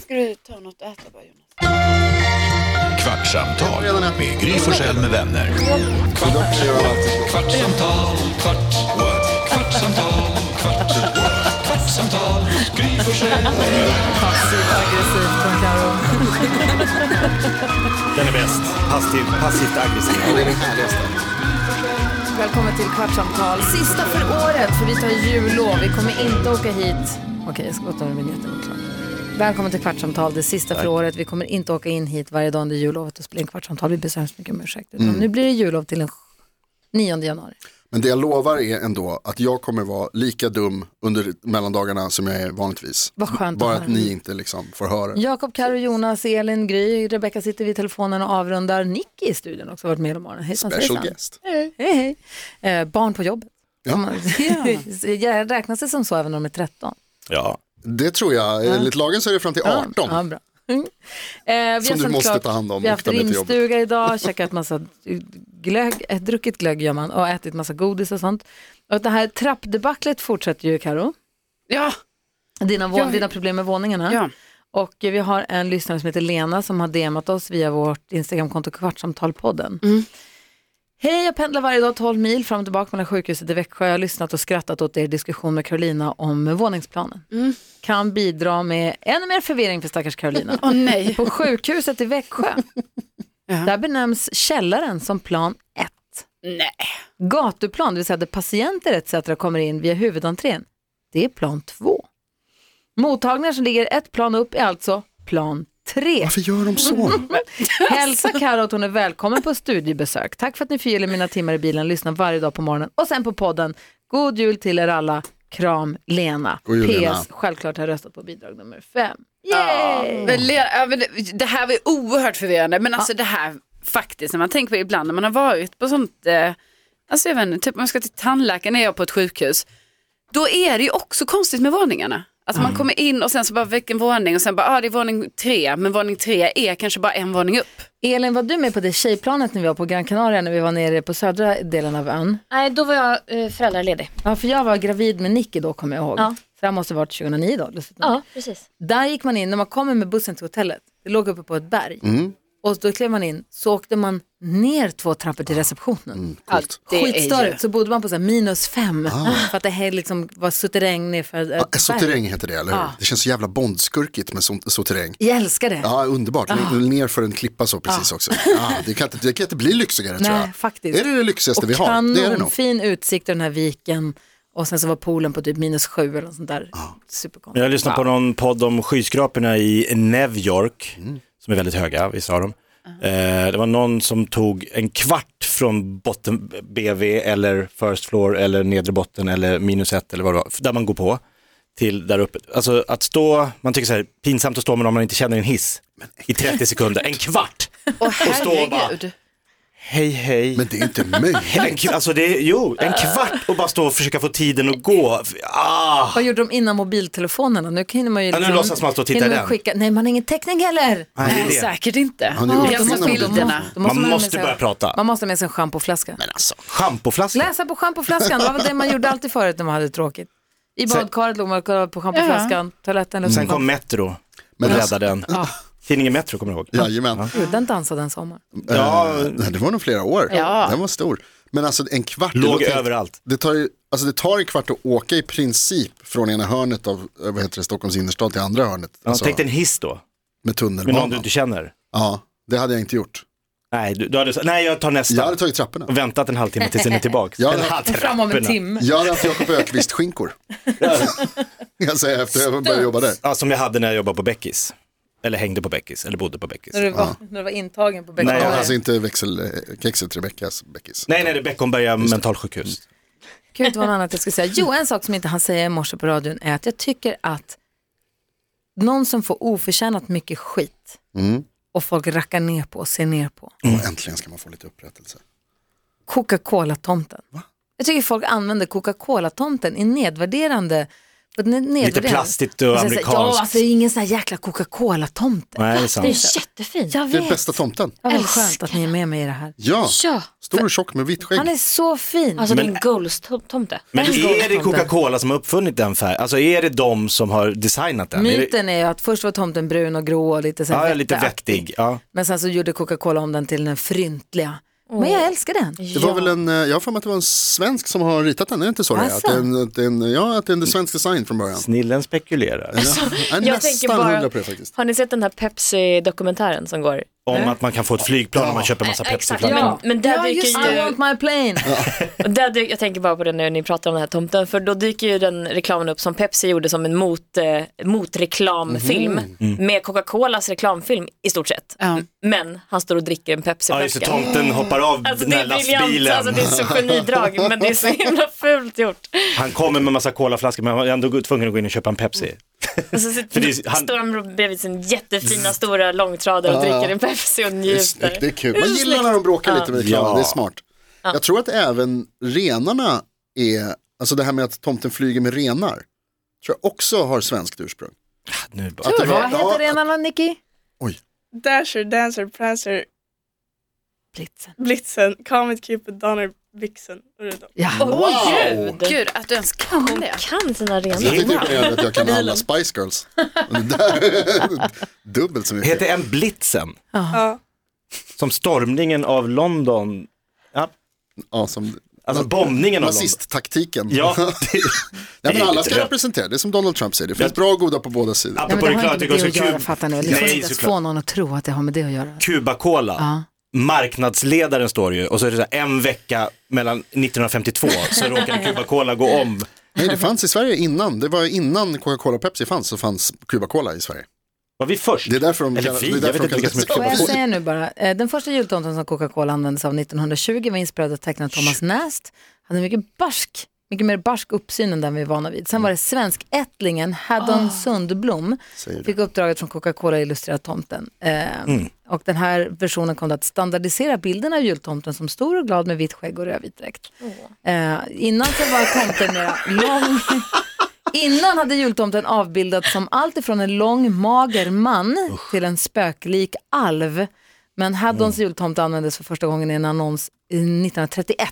ska du ta något att äta bara Jonas? Kvartsamtal med Gry Forssell med vänner. Kvart, kvartsamtal, kvart, what? kvartsamtal, kvart, what? kvartsamtal, Gry Forssell med vänner. Passivt aggressivt från Carro. Den är bäst. Passiv, passivt aggressiv. Välkommen till Kvartsamtal. Sista för året, för vi tar jullov. Vi kommer inte åka hit. Okej, jag ska bara ta den vinjetten också. Välkommen till Kvartsamtal, det sista för året. Vi kommer inte åka in hit varje dag under jullovet och spela in Kvartsamtal. Vi ber så hemskt mycket om ursäkt. Utan Nu blir det jullov till den 9 januari. Men det jag lovar är ändå att jag kommer vara lika dum under mellandagarna som jag är vanligtvis. Vad skönt att Bara höra. att ni inte liksom får höra. det. Jakob, Karo, Jonas, Elin, Gry, Rebecka sitter vid telefonen och avrundar. Nicky i studion också har varit med hela morgonen. Hejsan, Special svejsan. guest. Hej, hej. Eh, barn på jobbet. Ja. Man- Jag räknas det som så även om de är 13? Ja. Det tror jag, enligt lagen så är det fram till 18. Ja, ja, bra. Mm. Eh, vi Som har du sänt måste klart- ta hand om Vi har och haft ta med till jobbet. rimstuga idag, käkat massa glögg, eh, druckit glögg gör man, och ätit massa godis och sånt. Och det här trappdebaclet fortsätter ju Karo. Ja, Dina, vå- Ja, vi- dina problem med våningarna. ja. Och eh, vi har en lyssnare som heter Lena som har DMat oss via vårt Instagramkonto Kvartsamtalpodden. Hej, jag pendlar varje dag 12 mil fram och tillbaka mellan sjukhuset i Växjö. Jag har lyssnat och skrattat åt er diskussion med Carolina om våningsplanen. Kan bidra med ännu mer förvirring för stackars Carolina. Åh nej. På sjukhuset i Växjö, där benämns källaren som plan 1. nej. Gatuplan, det vill säga där patienter etc. kommer in via huvudentrén, det är plan 2. Mottagningar som ligger ett plan upp är alltså plan 3. Varför gör de så? Hälsa Karo att hon är välkommen på studiebesök. Tack för att ni förgyller mina timmar i bilen, lyssnar varje dag på morgonen och sen på podden. God jul till er alla. Kram Lena. God jul, PS, Lena. självklart har jag röstat på bidrag nummer 5. Ja, Yay! men le- ja, men det- det här var ju oerhört förvirrande, men alltså det här faktiskt, när man tänker på ibland när man har varit på sånt, eh, alltså jag vet inte, typ om jag ska till tandläkaren när jag är på ett sjukhus, då är det ju också konstigt med våningarna. Alltså man kommer in och sen så bara vilken våning och sen bara, ja ah, det är våning tre, men våning tre är kanske bara en våning upp. Elin, var du med på det tjejplanet när vi var på Gran Canaria när vi var nere på södra delen av ön? Nej, då var jag eh, föräldraledig. Ja, för jag var gravid med Nicky då kommer jag ihåg. Ja. Så det här måste ha varit 2009 då. dessutom. Ja, precis. Där gick man in, när man kommer med bussen till hotellet, det låg uppe på ett berg. Mm. Och då klev man in, så åkte man ner två trappor till receptionen. Mm, Allt det är ju- Skitstörigt, så bodde man på så här minus fem för att det här liksom var suterräng nerför ett Ah. Ja, berg. Soterräng heter det, eller hur? Det känns så jävla bondskurkigt med sånt- soterräng. Jag älskar det. Ja, underbart. Ner för en klippa så precis också. Ja, det, kan inte, det kan inte bli lyxigare tror Nej, jag. faktiskt. Är det det lyxigaste och vi har? Det är det nog. fin utsikt över den här viken och sen så var poolen på typ minus sju eller något sånt där. Superkonstigt. Jag lyssnade på någon podd om skyskraporna i New York, som är väldigt höga, vissa av dem. Eh, det var någon som tog en kvart från botten BV eller first floor eller nedre botten eller minus ett eller vad det var, där man går på, till där uppe. Alltså att stå, man tycker så här, pinsamt att stå med någon man inte känner i en hiss i 30 sekunder, en kvart. Och står och bara- herregud. Hej hej. Men det är inte möjligt. En, kv- alltså det, är- jo, en kvart och bara stå och försöka få tiden att gå. Ah. Vad gjorde de innan mobiltelefonerna? Nu hinner man ju... liksom- nu låtsas man stå och titta hinner i man den. Skicka, nej, man har ingen täckning heller. Nej, Nej, det är det. säkert inte. Har ni gjort Jag det? såg bilderna. Då Man ha med måste sig- börja prata. Man måste ha med sig en schampoflaska. Schampoflaska. Läsa på schampoflaskan, det var väl det man gjorde alltid förut när man hade tråkigt. I Sen- badkaret låg man och kollade på schampoflaskan, toaletten. Sen kom Metro och Men alltså- räddade den. Tidningen Metro kommer jag ihåg. Jajamän. Gud, Den dansade en sommar. Ja. Eh, Det var nog flera år. Ja. Den var stor. Men alltså en kvart. det Låg låter- överallt. Det tar, ju, alltså det tar en kvart att åka i princip från ena hörnet av eh, vad heter det, Stockholms innerstad till andra hörnet. Ja, Alltså, Tänk dig en hiss då, med med någon du tunnelbanan. inte känner. Ja, det hade jag inte gjort. Nej, du, du hade, sagt, nej jag tar Jag nästa. hade tagit trapporna. Och väntat en halvtimme tills den är tillbaka. Ja, Eller ja. halvtrapporna. Fram om en timme. Jag hade haft Jakob Ökvist-skinkor. jag säger efter jag började jobba där. Ja, som jag hade när jag jobbade på Beckis. Eller hängde på Beckis, eller bodde på Beckis. När du var, när du var intagen på Nej, Bäckhagen. Ja, nej. alltså inte växelkexet Rebeckas Beckis. Nej, nej, det är Beckomberga mentalsjukhus. Gud, det var något annat jag skulle säga. Jo, en sak som inte han säger i morse på radion är att jag tycker att någon som får oförtjänat mycket skit Mm. och folk rackar ner på och ser ner på, Och äntligen ska man få lite upprättelse. Coca-Cola-tomten. Jag tycker folk använder Coca-Cola-tomten i nedvärderande På den är nedvärderad. plastigt och så här, amerikanskt. Ja, alltså det är ingen sån här jäkla Coca-Cola-tomte. Nej, det är sant. Det är jättefint. Jag Det är vet. bästa tomten. Ja, Vad skönt att ni är med mig i det här. Ja, Ja, stor och tjock med vitt skägg. Han är så fin. alltså Men- din Goals-tomte. Men är det tomten. Coca-Cola som har uppfunnit den färgen? Alltså är det de som har designat den? Är det... Myten är ju att först var tomten brun och grå och lite så här Ja, lite vetteaktig. vettig. Ja. Men sen så gjorde Coca-Cola om den till den fryntliga. Men jag älskar den. Det var väl en, eh, jag har för mig att det var en svensk som har ritat den, är det inte så? det är? Att det är en, att det är en, ja, att det är en svensk design från början. Snillen spekulerar Ja, nästan hundra på det faktiskt. har ni sett den här Pepsi-dokumentären som går? om att man kan få ett flygplan om man köper massa pepsi Ja. Men, men där Ja, dyker just det. I ju, want my plane. och där dyker, jag tänker bara på det när ni pratar om den här tomten, för då dyker ju den reklamen upp som Pepsi gjorde som en mot, eh, motreklamfilm Mm. med Coca-Colas reklamfilm i stort sett. Ja. Men han står och dricker en pepsi Ja, just det, tomten hoppar av Alltså den det här är briljant, lastbilen. alltså, det är så genidrag men det är så himla fult gjort. Han kommer med massa colaflaskor men han var ändå tvungen att gå in och köpa en Pepsi. Och så För det sitter, är- han- Mm. står han bredvid sin jättefina stora långtradare och dricker en Pepsi och Det är, njuter. snyggt, det är kul. Man gillar när de bråkar lite med reklamen, Ja. det är smart. Jag tror att även renarna är, alltså det här med att tomten flyger med renar, tror jag också har svenskt ursprung. Nu bara. Att det var, Vad heter ja, renarna Nicky? Dasher, Dancer, Prancer, Blitzen. Blitzen, Comet, Cupid, Donner, Vixen och Rudolph. Ja. wow! Alltså, Gud, att du ens kan det. Kan sina Jag renor. tänkte imponerande att jag kan alla Spice Girls. Men det där- Dubbelt så mycket. Heter en blitzen, Ja. som stormningen av London, Ja, som, alltså Na- bombningen av London. Nazisttaktiken. Ja, det, Nej, men alla ska det- representera, det är som Donald Trump säger, det finns bra och goda på båda sidor. Nej, apropå men det har reklam, inte jag med tycker det också att göra, kul. fattar ni. Ni får Nej, inte ens såklart. få någon att tro att det har med det att göra. Cuba-Cola, Ja. marknadsledaren står det ju, och så är det så här, en vecka mellan 1952 så råkade Cuba-Cola gå om. Nej, det fanns i Sverige innan, det var innan Coca-Cola och Pepsi fanns så fanns Cuba Cola i Sverige. Var vi först? Det är därför de Eller kallar- vi, det är jag därför vet inte de vilka som kallar- är Får jag Cuba-Cola. säga nu bara, eh, den första jultomten som Coca-Cola användes av 1920 var inspirerad av tecknaren Thomas Nast. Han är mycket barsk, mycket mer barsk uppsyn än den vi är vana vid. Sen var det svenskättlingen Ah. Haddon Sundblom, fick uppdraget från Coca-Cola att illustrera tomten. Eh, Mm. Och den här versionen kom då att standardisera bilden av jultomten som stor och glad med vitt skägg och rödvit dräkt. Eh, innan så var tomten mera lång. Innan hade jultomten avbildats som allt ifrån en lång mager man till en spöklik alv. Men Haddons Mm. jultomte användes för första gången i en annons i 1931.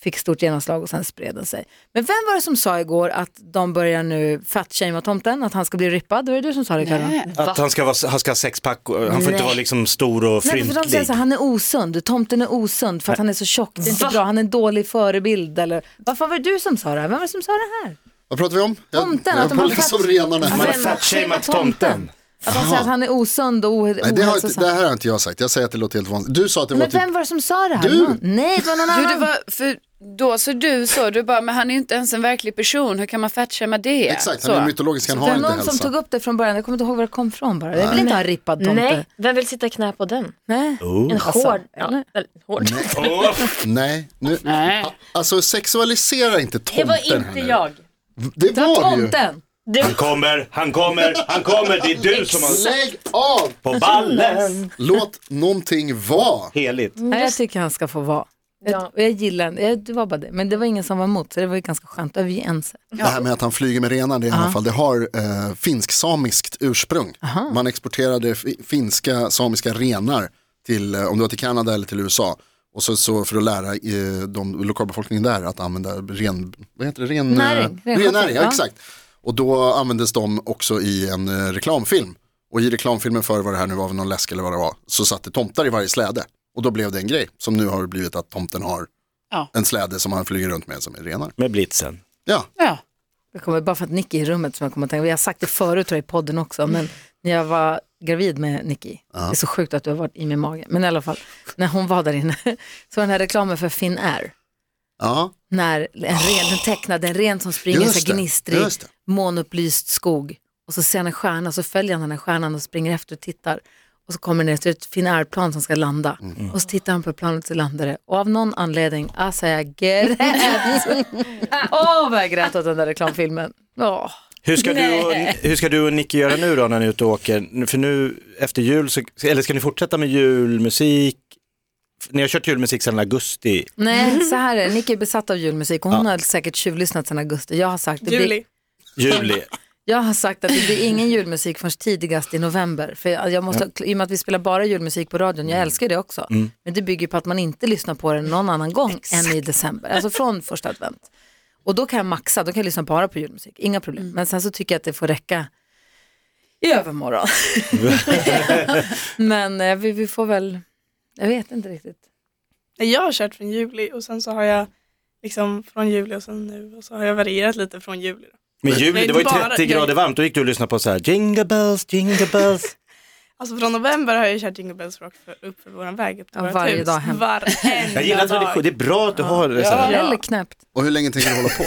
Fick stort genomslag och sen spred den sig. Men vem var det som sa igår att de börjar nu fatshama tomten, att han ska bli rippad? Var det du som sa det Karin? Att han ska, vara, han ska ha sexpack, och- han får inte Nej. vara liksom stor och Nej, för de säger fryntlig. så här, han är osund, tomten är osund för att han är så tjock, det är inte bra, han är en dålig förebild eller vad fan var det du som sa det här? Vem var det som sa det här? Vad pratar vi om? Tomten, jag, att de Alltså, jag har läsa om fett- renarna. Man har Vem har fatshamat shamat tomten? tomten. Att de säger att han är osund och ohe- Nej, det, har, inte- ohälsosam. det här har inte jag sagt, jag säger att det låter helt vansinnigt. Du sa att det var alltså Men typ, vem var det som sa det här? Du! Någon- Nej, det var någon Jo, det annan. var, för då så du så, du bara, men han är ju inte ens en verklig person, hur kan man fatshamea det? exakt, så. han är mytologisk, han Det har var inte någon som hälsa. tog upp det från början, jag kommer inte ihåg var det kom från bara. Jag vill inte ha en rippad tomte. Nej, vem vill sitta i knä på Mm. den? Nej. En Alltså, hård, ja, eller, hård. Nej, nu, Nej. alltså sexualisera inte Det tomten var här inte nu. jag. Det var det ju. Tomten! Han kommer, han kommer, han kommer, det är du som har Lägg av! på ballen. Låt någonting vara. Heligt. Nej, jag tycker han ska få vara. Jag, Ja. och jag gillar den. jag, det var bara det. Men det var ingen som var emot, så det var ju ganska skönt. Då är vi ense. Det här med att han flyger med renar, det, är i alla fall, det har eh, finsk-samiskt ursprung. Man exporterade fi- finska samiska renar till, eh, om det var till Kanada eller till USA. Och så, så för att lära eh, de, lokalbefolkningen där att använda ren, vad heter det? ren, eh, Näring, renskötsel, rennäring. Ja, ja. exakt. Och då användes de också i en eh, reklamfilm. Och i reklamfilmen för vad det här nu var, någon läsk eller vad det var, så satt det tomtar i varje släde. Och då blev det en grej som nu har blivit att tomten har Ja. en släde som han flyger runt med som är renar. Med blitzen. Ja, Ja. Jag kommer bara för att Nicky är i rummet som jag kommer att tänka, vi har sagt det förut tror jag, i podden också, men när jag var gravid med Nicky, det är så sjukt att du har varit i min mage, men i alla fall, när hon var där inne, så var den här reklamen för Finnair. ja. när en ren, den tecknade, en ren som springer i Just så här det, gnistrig, just det. månupplyst skog. Och så ser han en stjärna, så följer han den här stjärnan och springer efter och tittar. Och så kommer det ner, så är det ett Finnair-plan som ska landa. Mm. Och så tittar han på planet så landar det. Och av någon anledning, alltså jag grät. Åh, vad jag grät åt den där reklamfilmen. Åh. Hur ska, du och, hur ska du och Nicky göra nu då när ni är ute och åker? För nu efter jul, så, eller ska ni fortsätta med julmusik? Ni har kört julmusik sedan augusti. Nej, så här är det. Nicky är besatt av julmusik och hon har säkert tjuvlyssnat sedan augusti. Jag har sagt det blir- Juli. Juli. Jag har sagt att det blir ingen julmusik förrän tidigast i november. För jag jag måste, I och med att vi spelar bara julmusik på radion, Mm. jag älskar det också. Men det bygger på att man inte lyssnar på den någon annan gång än i december. Alltså från första advent. Och då kan jag maxa, då kan jag lyssna bara på julmusik. Inga problem. Men sen så tycker jag att det får räcka i övermorgon. Men eh, vi, vi får väl, jag vet inte riktigt. Nej, jag har kört från juli och sen så har jag liksom från juli och sen nu och så har jag varierat lite från juli. Då. Men juli, det var ju Bara- 30 grader varmt, då gick du och lyssnade på så här, jingle bells, jingle bells. Alltså från november har jag kört Jingle Bells Rock för, upp för vår väg upp till Ja, vårt varje hus. dag hem. Varenda Jag gillar tradition, dag. det är bra att du har det så här. Ja. Eller knäppt. Och hur länge tänker du hålla på?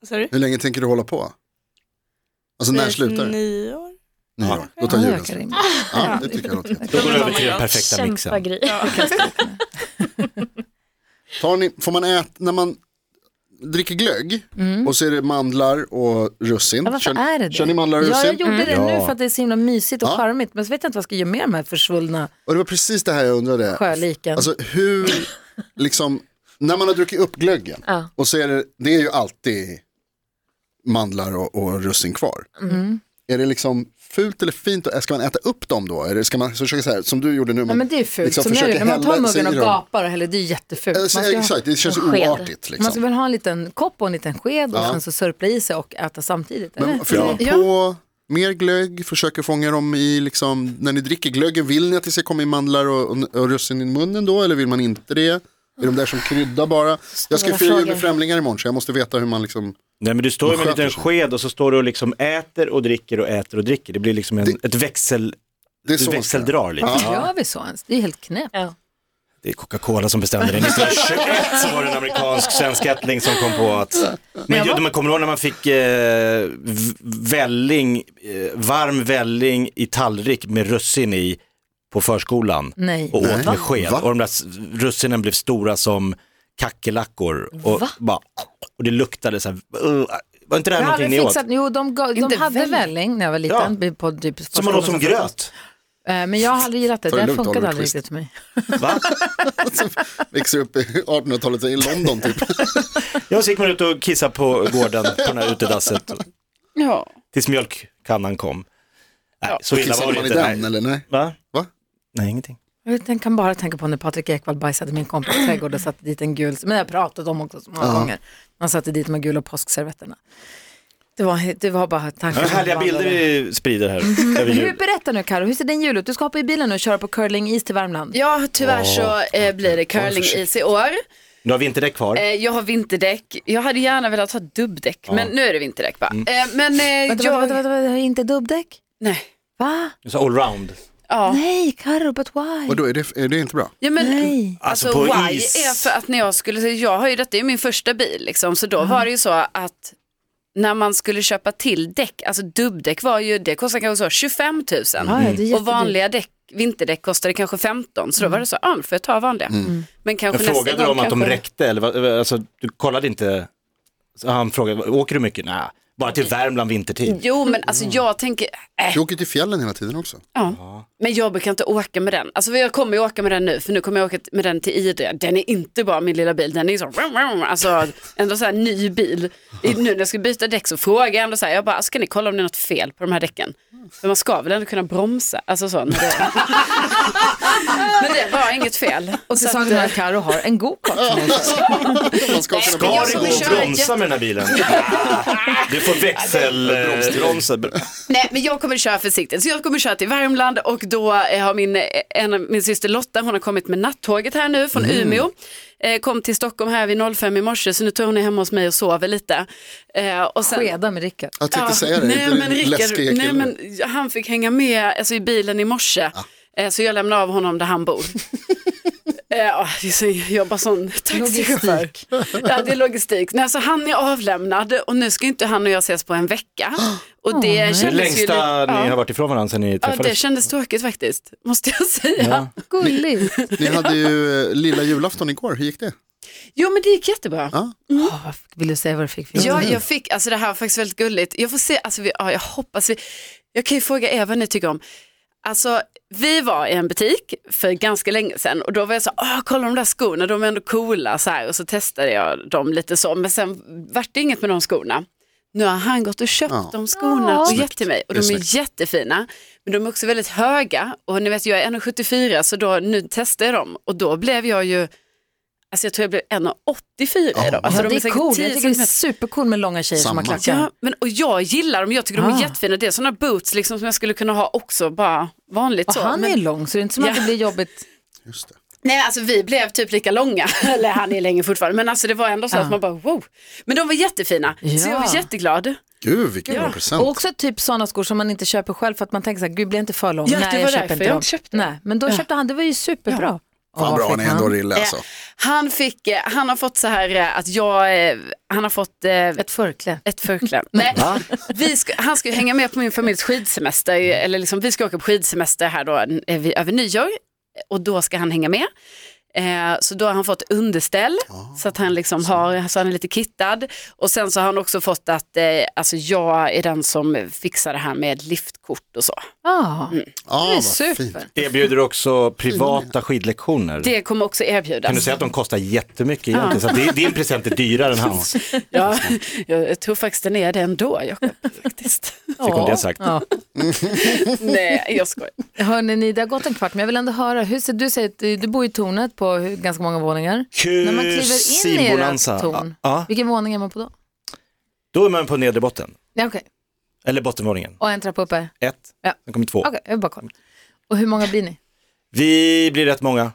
Vad sa du? Hur länge tänker du hålla på? Alltså när Vid slutar det? Nyår. Nyår. Då Ja, tar julen jag kan slut. rimma. Ja, det tycker jag låter jättebra. Då går du över till typ den perfekta Kämpa mixen. grej. Tar ni, får man äta, när man dricker glögg och så är det mandlar och russin. Mm. Ja, varför Kör- är det det? Kör ni mandlar och Ja, russin? jag gjorde det nu Ja. för att det är så himla mysigt och Ja. charmigt. Men så vet jag inte vad jag ska göra med de här försvullna Och det var precis det här jag undrade. sjöliken. Alltså hur, liksom, när man har druckit upp glöggen Ja. och så är det, det är ju alltid mandlar och, och russin kvar. Mm. Är det liksom fult eller fint, och- ska man äta upp dem då? Eller ska man försöka så här, som du gjorde nu, Nej man men det är fult, liksom som jag försöker gjorde. När man tar hälla sig muggen och i dem. gapar och häller, det är jättefult. Man Alltså, ska, Exakt, det känns en sked. oartigt. man ska Liksom. väl ha en liten kopp och en liten sked och sen så sörpla i sig och äta samtidigt. Eller? Men fyller man Ja. på mer glögg, försöker fånga dem i, liksom, när ni dricker glöggen, vill ni att det ska komma i mandlar och, och, och russin i munnen då, eller vill man inte det? Är de där som krydda bara? Jag ska Stora fira jul frågor. med främlingar imorgon, så jag måste veta hur man liksom... Nej men du står ju med en sköter liten sig. sked och så står du och liksom äter och dricker och äter och dricker. Det blir liksom en, ett växel, Det är du så man ska göra. växeldrar lite. Varför gör vi så ens? Det är ju helt knäppt. Det är Coca-Cola som bestämde det. 1921 så var det en amerikansk svensk ättling som kom på att... Men jag, man kommer ihåg när man fick eh, v- välling, eh, varm välling i tallrik med russin i på förskolan Nej. och åt Nej. med sked. Va? Och de där s- russinen blev stora som kackerlackor. Och, bara, och det luktade så här, uh, var inte det här Jag har någonting ni aldrig åt? fixat, jo de, ga- de Inte hade välling. välling när jag var liten. På typ Som man åt som förskolan. gröt. Eh, Men jag har aldrig gillat det, Ta det det lugnt, funkade Oliver aldrig Twist. riktigt för mig. Va? Växer upp i 1800-talet i London typ. Jag gick man ut och kissade på gården på den här utedasset Ja. tills mjölkkannan kom. Nej, så illa var Kissade det man i inte. den nej. eller nej? Va? Va? Nej, ingenting. Jag kan bara tänka på när Patrik Ekwall bajsade i min kompis trädgård och satte dit en gul, men jag har pratat om också så många gånger. Man satte dit de här gula påskservetterna. Det var, det var bara tankar. som härliga vandrade. bilder vi sprider här över Hur, jul. berätta nu Karo, hur ser din jul ut? Du ska hoppa i bilen nu och köra på curling-is till Värmland. Ja, tyvärr så eh, blir det curling-is i år. Nu har vi inte det kvar. Eh, jag har vinterdäck. Jag hade gärna velat ha dubbdäck, men nu är det vinterdäck bara. Eh, men eh, Vänta, jag... vänta, vänta, vänta, vänta, inte dubbdäck? Nej. Va? Så allround. Ja. Nej, Karo, but why? Vadå, är det, är det inte bra? Ja, men, Nej. Alltså, Alltså, på why is. är för att när jag skulle, så jag har ju, detta är ju min första bil liksom, så då var det ju så att när man skulle köpa till däck, alltså dubbdäck var ju, det kostade kanske så 25 000 ja, det är jättedyrt. Mm. och vanliga däck, vinterdäck kostade kanske 15 så då var det så, ja nu får jag ta vanliga. Men Men kanske Mm. frågade nästa de gång att de kanske- räckte? Eller, vad- alltså, du kollade inte? Så han frågade, åker du mycket? Nej, bara till Värmland vintertid. Jo men alltså jag tänker, äh, Du åker till fjällen hela tiden också. ja. men jag brukar inte åka med den. Alltså jag kommer ju åka med den nu för nu kommer jag åka med den till Idre. Den är inte bra min lilla bil, den är ju så, alltså ändå så här ny bil. I- Nu när jag ska byta däck så frågar jag ändå så här, jag bara, ska ni kolla om det är något fel på de här däcken? För man ska väl ändå kunna bromsa, alltså så. när det- Men det var inget fel. Och till saken är att Karo har en go-kart. som hon kör. Man Äh, ska kunna Ska jag det ska gå att köra bromsa med den här bilen? Du får växelbromsa. Nej, men jag kommer köra försiktigt. Så jag kommer köra till Värmland och då eh, har min, eh, en, av- min syster Lotta, hon har kommit med nattåget här nu från Umeå. Eh, kom till Stockholm här vid 05 i morse så nu tror hon är hemma hos mig och sover lite. Eh, och sen, Skeda med Rickard. Jag tänkte säga det, nej, inte men den läskiga Rickard, nej, killen. men han fick hänga med alltså, i bilen i morse. Eh, Så jag lämnade av honom där han bor. Eh, ja, det är så- Jag är bara sån taxichaufför. Logistik. Ja, det är logistik. Nej, så han är avlämnad och nu ska inte han och jag ses på en vecka. Och det kändes Det ju lite- längsta ni ja. har varit ifrån varandra sen ni Ja, det träffades. kändes tråkigt faktiskt, måste jag säga. Gulligt. Ni hade ju eh, lilla julafton igår, hur gick det? Jo, men det gick jättebra. Ja. Åh, vad f- vill du säga vad du fick för Ja, jag fick, alltså det här var faktiskt väldigt gulligt. Jag får se, alltså vi, ja, jag hoppas vi, jag kan ju fråga er vad ni tycker om. Alltså, vi var i en butik för ganska länge sedan och då var jag så, Åh, kolla de där skorna, de är ändå coola så här och så testade jag dem lite så, men sen vart det inget med de skorna. Nu har han gått och köpt Ja. de skorna och Snyggt. gett till mig och Det är de snyggt. är jättefina. Men de är också väldigt höga och ni vet jag är 1,74 så då, nu testade jag dem och då blev jag ju, alltså jag tror jag blev 1,84 i dem. Alltså de ja, det är säkert coolt. 10 Jag tycker det är centimeter. supercoolt med långa tjejer som Samma. har klackar. Ja, men, och jag gillar dem, jag tycker de är Ah. jättefina. Det är sådana boots liksom, som jag skulle kunna ha också, bara vanligt Och så. han men, är lång så det är inte som Ja. att det blir jobbigt. Just det. Nej, alltså vi blev typ lika långa, eller han är längre fortfarande, men alltså det var ändå så att man bara wow. Men de var jättefina, så jag Ja. var jätteglad. Gud vilken Ja. bra Och present. också typ sådana skor som man inte köper själv för att man tänker så här, gud blir jag inte för lång? Ja, det Nej, var jag köper därför inte jag dem. inte köpte dem. Nej, men då köpte han, det var ju superbra. Ja. Fan bra han är ändå Rille alltså. Eh, han, fick, eh, han har fått så här eh, att jag, eh, han har fått eh, ett, Ett förkläde. ett förkläde. Nej, vi ska, han ska ju hänga med på min familjs skidsemester, eller liksom, vi ska åka på skidsemester här då eh, vid- över nyår och då ska han hänga med. Eh, så då har han fått underställ så att han liksom har, så han är lite kittad. Och sen så har han också fått att eh, alltså jag är den som fixar det här med liftkort och så. Ja, Mm. Ja, Ah, det är Ah, vad fint. super. Erbjuder också privata skidlektioner. Det kommer också erbjudas. Kan du säga att de kostar jättemycket egentligen? Så att det- din present är dyrare än hans. Fick ja, jag tror faktiskt den är det ändå, Jakob. Faktiskt. hon det sagt. Ja. Nej, jag skojar. Hörrni, ni, det har gått en kvart men jag vill ändå höra, hur ser, du säger att du, du bor i tornet på hur- ganska många våningar. När man kliver in i Kusilbonanza. ert torn, Ja, ja. vilken våning är man på då? Då är man på nedre botten. Ja, okej. Eller bottenvåningen. Och en trappa upp är? Ett, Ja. sen kommer två. Okej, jag vill bara kolla. Och hur många blir ni? Vi blir rätt många.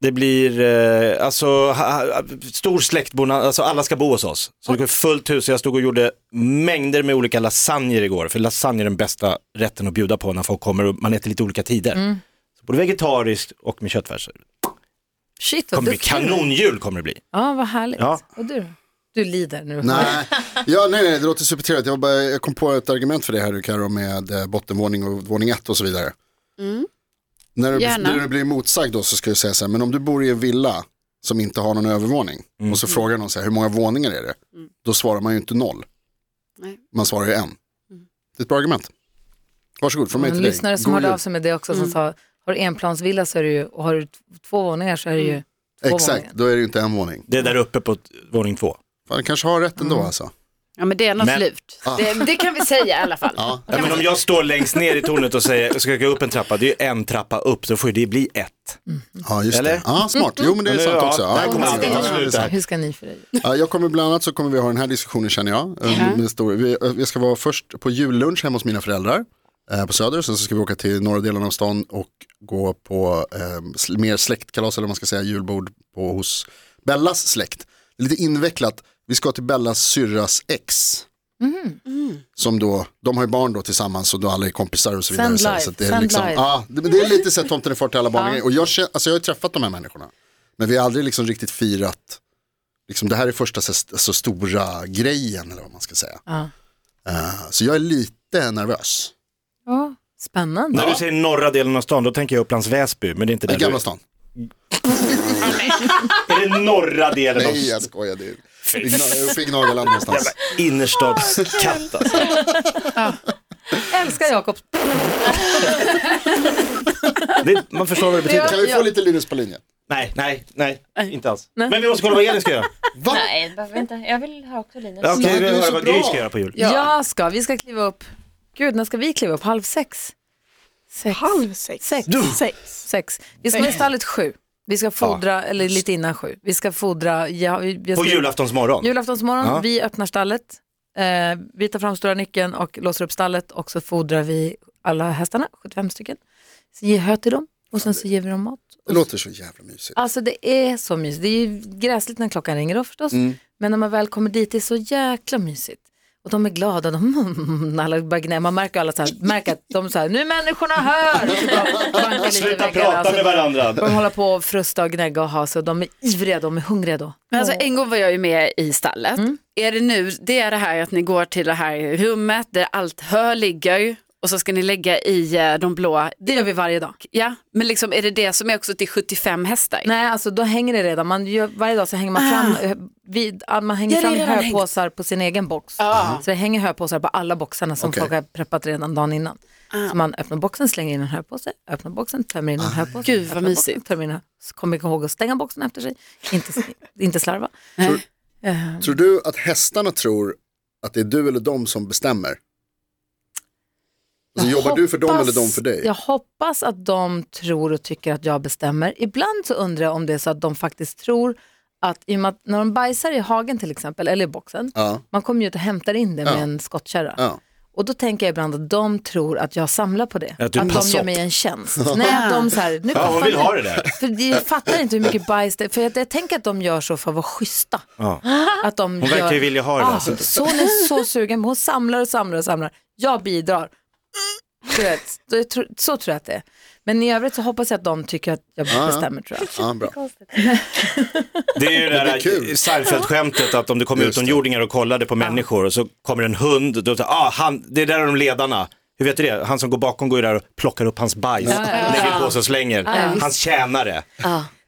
Det blir, eh, alltså, ha, ha, stor släktbonanza, alltså alla ska bo hos oss. Så det går fullt hus, jag stod och gjorde mängder med olika lasagner igår, för lasagne är den bästa rätten att bjuda på när folk kommer och man äter lite olika tider. Mm. Så både vegetariskt och med köttfärs. Det Shit vad kommer bli duktig. kanonjul kommer det bli. Ja, vad härligt. Ja. Och du då? Du lider nu. Nej. Ja, nej, nej, det låter supertrevligt. Jag, bara, jag kom på ett argument för det här Karo med eh, bottenvåning och våning ett och så vidare. När, du, Mm. Gärna. när du blir motsagd då så ska du säga så här, men om du bor i en villa som inte har någon övervåning Mm. och så frågar någon så här, hur många våningar är det? Då svarar man ju inte noll. Mm. Nej. Mm. Man svarar ju en. Det är ett bra argument. Varsågod, från mig En till dig. Mm, lyssnare som God hörde jul. av sig med det också Mm. som sa, har du enplansvilla så är det ju, och har du t- två våningar så är det Mm. ju två Exakt, våningar. då är det ju inte en våning. Det är där uppe på t- våning två. Fan, du kanske har rätt ändå alltså. Mm. Ja, men det är något Men- lurt. Det, det kan vi säga i alla fall. Ja. Ja, men om jag står längst ner i tornet och säger, ska jag gå upp en trappa, det är ju en trappa upp, så får ju det bli ett. Ja, just Eller? det. Ja, smart. Jo, men det är Men nu, sant ja, också. det här Ja, kommer det är aldrig ta sant. Ja, det är slut sant. här. Hur ska ni för dig? Ja, Jag kommer bland annat så kommer vi ha den här diskussionen känner jag. eh, Med stor, vi, eh, jag ska vara först på jullunch hemma hos mina föräldrar eh, på Söder. Sen så ska vi åka till norra delen av stan och gå på eh, sl- mer släktkalas eller vad man ska säga julbord på, hos Bellas släkt. Det är lite invecklat. Vi ska till Bellas syrras ex. Mhm. Som då, de har ju barn då tillsammans och då alla är kompisar och så vidare. Sänd Så- live, så att det, är sänd liksom, live. ja, det, men det är lite så att tomten är far till alla barn. Och jag, känner, alltså jag har ju träffat de här människorna. Men vi har aldrig liksom riktigt firat liksom, det här är första så, så stora grejen eller vad man ska säga. Ja. Eh, så jag är lite nervös. Ja, spännande. När du säger norra delen av stan, då tänker jag Upplands Väsby, men det är inte där I du Gamla är. stan. Är det norra delen av Nej jag skojar, det är i Gna- uppe i Gnagaland någonstans. innerstadskatt alltså. Älskar Jakob. det, Man förstår vad det betyder. Kan vi få lite Linus på linjen? Nej, nej, nej, inte alls. Men vi måste kolla vad Elin ska göra. Va? Nej, det behöver vi inte. Jag vill höra också Linus. Ja, Okej, du vi är höra så vad bra. Gry ska göra på jul. Ja. ska, vi ska kliva upp. Gud, när ska vi kliva upp? Halv sex? Sex. Halv sex. Sex. Sex. sex. Vi ska vara i stallet sju. Vi ska fodra, eller lite innan sju. Vi ska fodra. Ja, vi, jag På ska- julaftonsmorgon. Julaftonsmorgon, Ja. vi öppnar stallet. Eh, vi tar fram stora nyckeln och låser upp stallet och så fodrar vi alla hästarna, 75 stycken. Så ger hö till dem och sen så ger vi dem mat. Det låter så jävla mysigt. Alltså det är så mysigt. Det är ju gräsligt när klockan ringer då förstås. Men när man väl kommer dit, det är så jäkla mysigt. Och de är glada, de, alla bara gnä- man märker alla så här, märker att de så här, nu människorna hör! Och så bara bankar lite i Sluta väggarna. prata Alltså, med varandra. De håller på och frusta och gnägga och ha sig och de är ivriga, de är hungriga då. Men alltså, en gång var jag ju med i stallet. Mm. Är det nu, det är det här att ni går till det här rummet där allt hö ligger och så ska ni lägga i eh, de blå, Det gör vi varje dag. ja, men liksom är det det som är också till 75 hästar? Nej, alltså då hänger det redan. Man gör, varje dag så hänger man fram, eh, vid, ah, man hänger Ja, det är fram redan hängt. Ah. höpåsar på sin egen box. Mm. Så det hänger höpåsar på alla boxarna som Okej. folk har preppat redan dagen innan. Ah. Så man öppnar boxen, slänger in en höpåse, öppnar boxen, tömmer in Ah. en höpåse. Gud, vad öppnar boxen, mysigt. tömmer in en, så kommer ihåg att stänga boxen efter sig, inte, inte slarva. Tror du att hästarna tror Att det är du eller de som bestämmer. Alltså, jobbar du för dem eller de för dig? Jag hoppas att de tror och tycker att jag bestämmer. Ibland så undrar jag om det är så att de faktiskt tror att, i och med att när de bajsar i hagen till exempel, eller i boxen, Ja, man kommer ju ut och hämtar in det Ja. med en skottkärra. ja. Och då tänker jag ibland att de tror att jag samlar på det. Att du de passar gör upp. mig en tjänst. Nej, att de så här, nu Ja, hon vill ha det där. För jag fattar inte hur mycket bajs det är. För jag, jag tänker att de gör så för att vara schyssta. Ja. Att de Hon verkar ju vilja ha det alltså. där. Ah, sonen är så sugen, men hon samlar och samlar och samlar. Jag bidrar. Du vet, då jag tror- så tror jag att det är. Men i övrigt så hoppas jag att de tycker att jag ja. bestämmer tror jag. ja bra. Det är ju det Det blir där kul. Seinfeld-skämtet att om det kommer Just utomjordingar och kollade på människor och så kommer en hund, då säger ah, han, det är där är de ledarna. Hur vet du det? Han som går bakom går ju där och plockar upp hans bajs, lägger på sig och slänger. Hans tjänare.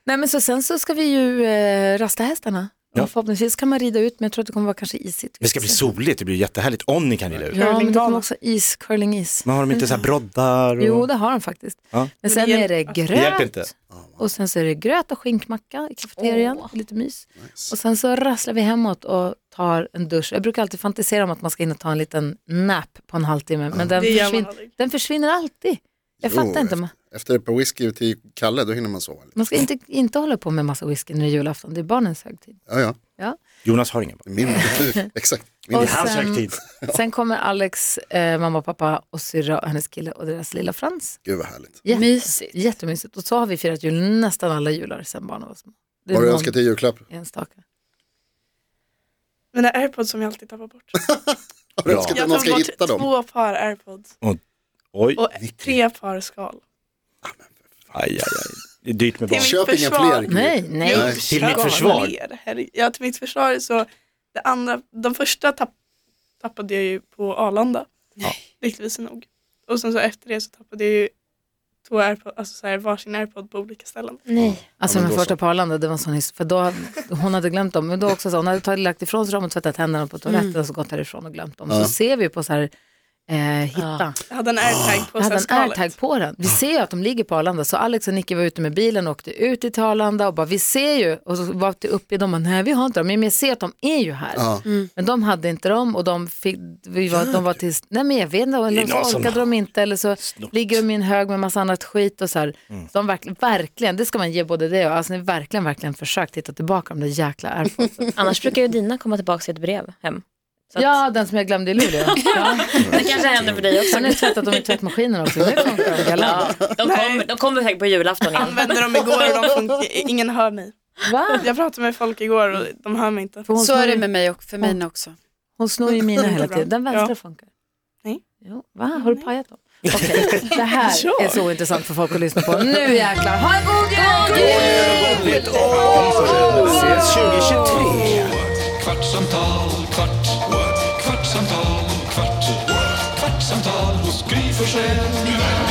Nej men så sen så ska vi ju eh, rasta hästarna. Och förhoppningsvis kan man rida ut men jag tror att det kommer vara kanske isigt. Det ska bli soligt, det blir jättehärligt om ni kan rida ut. Ja men det kommer Curlingbana. också is, curling-is. Men har de inte så här broddar? Och... Jo det har de faktiskt. Ja. Men sen är det det hjälper gröt. inte. Och sen så är det gröt och skinkmacka i kafeterian, lite mys. Och sen så rasslar vi hemåt och tar en dusch. Jag brukar alltid fantisera om att man ska hinna ta en liten nap på en halvtimme, men den, Det gör man försvinner, aldrig. den försvinner alltid. Jag Jo, fattar inte, man, Efter ett par whisky till Kalle, då hinner man sova. lite. man ska inte, inte hålla på med massa whisky när det är julafton, det är barnens högtid. Ja, ja. Jonas har ingen. Min, exakt. Min Och idé. Hans sen, högtid. sen kommer Alex, eh, mamma och pappa och syrra och hennes kille och deras lilla Frans. Gud vad härligt. Jätte, Mysigt. Jättemysigt. Och så har vi firat jul nästan alla jular sen barnen var små. Det är Vad har du någon önskat i julklapp? enstaka. Mina airpods som jag alltid tappar bort. Har du Ja. önskat Jag att någon tappar ska bort hitta dem? två par airpods Oj, och tre par skal. aj, aj, aj. Det är dyrt med barn. mitt Köp inga försvar. fler. Gry. Nej, nej. Nej. Till mitt försvar. Ner. Herre- Ja, till mitt försvar så, det andra, de första tapp, tappade jag ju på Arlanda. Ja. Lyckligtvis nog. Och sen så efter det så tappade jag ju två airpod, alltså så här, varsin airpod på olika ställen. Alltså Ja, men den då första på Arlanda, det var en sån his- för då, hon hade glömt dem, men då också så, hon hade tagit, lagt ifrån sig dem och tvättat händerna på toaletten och så gått härifrån och glömt dem. Ja. Så ser vi på så här, eh, hitta, Jag Ah. hade en airtag på jag hade en sällskapet. airtag på den. Vi ser ju att de ligger på Arlanda, så Alex och Nicky var ute med bilen och åkte ut till Arlanda och bara, vi ser ju, och så var det uppe i dem och nej vi har inte dem, men jag ser att de är ju här. Ja. Men de hade inte dem och de, fick, vi var, de var tills, nej men jag vet inte, eller är så någon som orkade de inte eller så ligger de i en hög med massa annat skit och så här. Så de verkligen, verkligen, det ska man ge både det och, alltså ni har verkligen, verkligen försökt hitta tillbaka de där jäkla airpodsen. Mm. Annars brukar ju dina komma tillbaka i ett brev hem. Så att, ja, den som jag glömde i Luleå. Ja. Mm. Det kanske händer för dig också. Sen har jag tvättat dem i tvättmaskinen också, nu kommer de galant. Ja, de kommer de kom iväg på julafton igen. Använde dem igår och de funkar, ingen hör mig. Va? Jag pratade med folk igår och de hör mig inte. För hon, Så är det snor, med mig och för mina också. hon snor ju mina hela Jättebra. tiden, den vänstra Ja. funkar. Nej. Jo, va? Har du pajat dem? Okej, det här är så intressant för folk att lyssna på. Nu jäklar, ha en god jul! Ses 2023. Kvartsamtal, kvart, what? kvartsamtal, kvart, what? kvartsamtal hos Gry Forssell med vänner.